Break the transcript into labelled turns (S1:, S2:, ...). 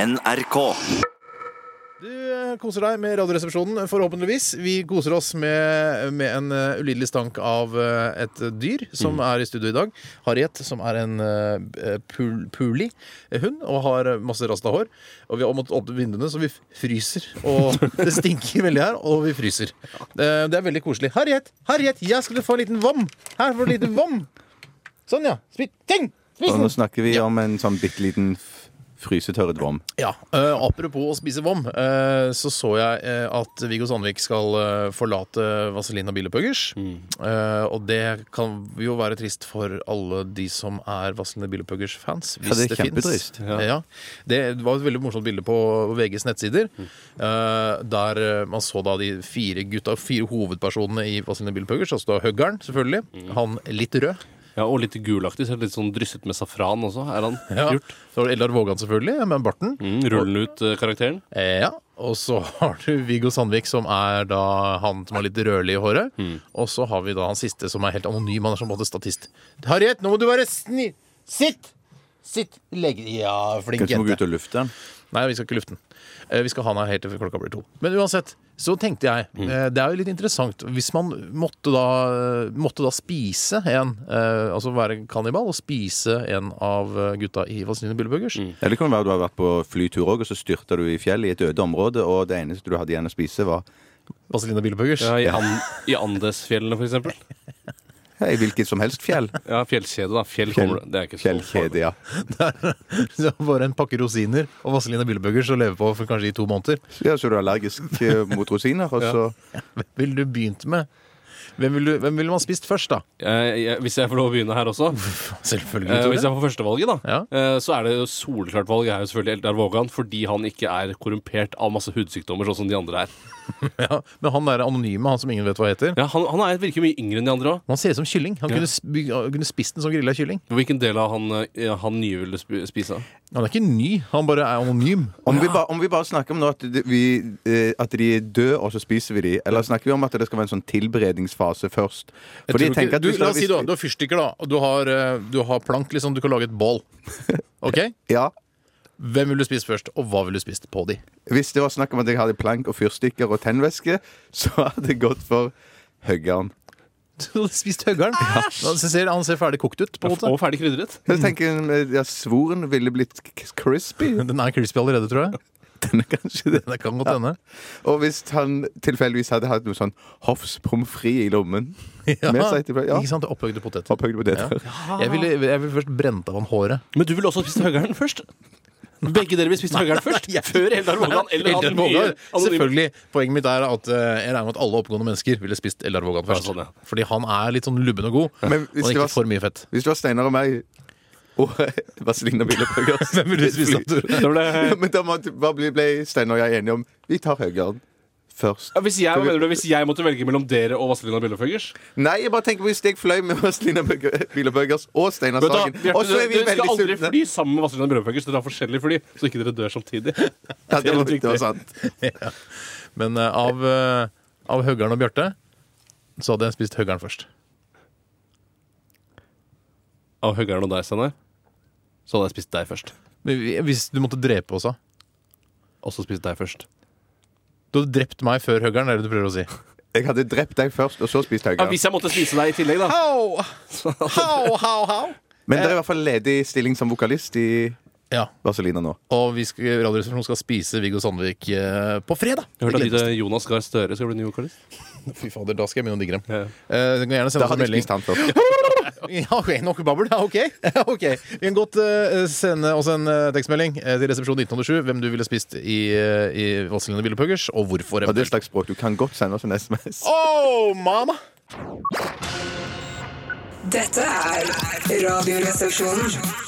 S1: NRK.
S2: Du eh, koser deg med Radioresepsjonen, forhåpentligvis. Vi koser oss med, med en eh, ulidelig stank av eh, et dyr som er i studio i dag. Harriet, som er en eh, eh, pul puli-hund og har eh, masse rasta hår. Og vi har måttet åpne vinduene, så vi f- fryser. Og det stinker veldig her, og vi fryser. Eh, Det er veldig koselig. Harriet, Harriet, jeg skal du få en liten vom! Her får du en liten vom! Sånn, ja. Spis ting! Spis
S3: Og
S2: den!
S3: nå snakker vi om en sånn bitte liten frysetørret vom.
S2: Ja, eh, Apropos å spise vom, eh, så så jeg eh, at Viggo Sandvik skal eh, forlate Vazelina Bilopphøggers.
S3: Mm.
S2: Eh, og det kan jo være trist for alle de som er Vazelina Bilopphøggers-fans. Hvis
S3: det er
S2: det, finnes.
S3: kjempetrist.
S2: Ja. Det var et veldig morsomt bilde på VGs nettsider,
S3: Mm.
S2: eh, der eh, man så da de fire gutta, fire hovedpersonene i Vazelina Bilopphøggers. Altså da Høggern, selvfølgelig.
S3: Mm.
S2: Han litt rød.
S4: Ja, Og litt gulaktig. Så litt sånn drysset med safran også, er han
S2: Ja.
S4: gjort.
S2: Så var det Eldar Vågan, selvfølgelig, med barten.
S4: Mm, rullende ut eh, karakteren.
S2: Eh, Ja, og så har du Viggo Sandvik, som er da han som er litt rødlig i håret.
S3: Mm.
S2: Og så har vi da han siste, som er helt anonym. Han er som både statist. Harriet, nå må du være sni... Sitt! Sitt! Legg Ja, flink
S3: Kanskje må gå
S2: jente.
S3: ut og lufte den.
S2: Nei, vi skal ikke lufte den. Eh, Vi skal ha den her helt til klokka blir to. Men uansett, så tenkte jeg
S3: Mm.
S2: eh, Det er jo litt interessant. Hvis man måtte da, måtte da spise en, eh, altså være kannibal og spise en av eh, gutta i Vazelina Bullebøggers
S3: Eller det kan være du har vært på flytur òg, og så styrta du i fjellet i et øde område, og det eneste du hadde igjen å spise, var
S2: Vazelina Bullebøggers
S4: Ja, i, an I Andesfjellene, for eksempel.
S3: hei, hvilket som helst fjell.
S4: Ja, fjellkjede, da. Fjell kommer du Det er ikke så farlig.
S3: Fjellkjede, ja.
S2: Så bare en pakke rosiner og Vazelina Bullebøggers og leve på for kanskje i to måneder.
S3: ja. Så du er allergisk eh, mot rosiner, og så
S2: Hvem ville du begynt med? Hvem ville, hvem ville man spist først, da?
S4: Eh, jeg- Hvis jeg får lov å begynne her også.
S2: Selvfølgelig.
S4: Eh, hvis
S2: Tore.
S4: jeg får førstevalget, da,
S2: Ja.
S4: eh, så er det jo soleklart valg. er jo selvfølgelig Eldar Vågan, fordi han ikke er korrumpert av masse hudsykdommer, sånn som de andre er.
S2: Ja, men han der anonyme, han som ingen vet hva heter.
S4: Ja, han han er, virker mye yngre enn de andre òg.
S2: Han ser ut som kylling. Han kunne, sp- han kunne spist den som grilla kylling.
S4: Hvilken del av han, eh, han nye ville sp- spise?
S2: Han er ikke ny, han bare er anonym.
S3: om vi, bare, om vi bare snakker om nå at, det- vi, eh, at de er døde, og så spiser vi de, eller snakker vi om at det skal være en sånn tilberedningsfase først?
S2: Jeg
S3: Fordi
S2: tror
S3: jeg tenker
S2: ikke,
S3: at
S2: du,
S3: hvis
S2: la oss si
S3: hvis-
S2: du, har- du har fyrstikker, da. Og du har, eh, du har plank, liksom. Du kan lage et bål. Ok?
S3: Ja,
S2: Hvem ville du spist først, og hva ville du spist på de?
S3: Hvis det var snakk om at jeg hadde plank og fyrstikker og tennvæske, så hadde jeg gått for høggeren.
S2: Du hadde spist høggeren. Han ser- Han ser ferdig kokt ut, på en måte.
S4: Og ferdig krydret.
S3: Jeg tenker eh, ja, Svoren ville blitt k- crispy.
S2: Den er crispy allerede, tror jeg.
S3: Den er kanskje det.
S2: Det kan godt hende.
S3: Og hvis han tilfeldigvis hadde hatt noe sånn hoffs pommes frites i lommen med seg til ja,
S2: Ikke sant? Opphøyde poteter.
S3: opphøyd på det der.
S2: Jeg ville, jeg ville først brent av han håret.
S4: Men du ville også spist høggeren først? Begge dere vil spise høggeren først? Før Eldar Vågan eller
S2: Eldar
S4: han nye?
S2: Vågan. Selvfølgelig. Poenget mitt er at eh, jeg regner med at alle oppegående mennesker ville spist Eldar Vågan først.
S4: Ja, sånn, ja.
S2: Fordi han er litt sånn lubben og god,
S3: Men
S2: og
S3: hvis det
S2: ikke
S3: var-
S2: for mye fett.
S3: Hvis det var Steinar og meg og Vazelina Billebrøgger
S2: Hvem ville du spist, da, Tore?
S4: Da ble,
S3: Ja, men da måtte- hva ble, ble Steinar og jeg enige om vi tar høggeren først.
S4: Ja, hvis, jeg, hva mener du, hvis jeg måtte velge mellom dere og Vazelina Billeføggers
S3: Nei, jeg bare tenker på hvis jeg fløy med Vazelina Billebrøggers og Steinar
S4: Vet du hva,
S3: Sagen.
S4: Bjarte,
S3: Og så er
S4: Dere
S3: vi
S4: dere skal
S3: veldig
S4: aldri
S3: sultne.
S4: fly sammen med Vazelina Billeføggers. Dere har forskjellige fly, så ikke dere dør samtidig.
S3: Ja, det, var,
S4: Helt riktig.
S3: det var sant.
S2: Men eh, av, eh, av Høggern og Bjarte så hadde jeg spist Høggern først.
S4: Av høggeren og deg, Steinar, så hadde jeg spist deg først.
S2: Men vi- Hvis du måtte drepe også.
S4: Også spist deg først.
S2: Du hadde drept meg før Høggern, er det du prøver å si.
S3: Jeg hadde drept deg først, og så spist
S4: Ja,
S3: høyere.
S4: hvis jeg måtte spise deg i tillegg, da.
S2: How? How, how, how?
S3: Men
S4: eh,
S3: det er i hvert fall ledig stilling som vokalist i
S2: Ja,
S3: Vazelina nå.
S2: og vi skal, Radioresepsjonen skal spise Viggo Sandvik eh, på fredag.
S4: Jeg hørte
S2: Det
S4: at
S2: gledes.
S4: lille Jonas Gahr Støre skal bli ny vokalist.
S2: Fy fader, da skal jeg begynne å digge dem.
S4: Ja.
S2: Eh, du kan gjerne sende
S3: Da
S2: oss en
S3: hadde jeg
S2: melding.
S3: spist han først.
S2: Ja, ok, Nok babbel. Ja, ok. Ja, ok. Vi kan godt eh, sende oss en eh, tekstmelding eh, til resepsjon 1907 hvem du ville spist i, eh, i Vazelina Billepuggers, og hvorfor.
S3: Og det er
S2: eventuelt.
S3: et slags språk. Du kan godt sende oss en SMS.
S2: Oh, mama!
S5: Dette er Radioresepsjonen.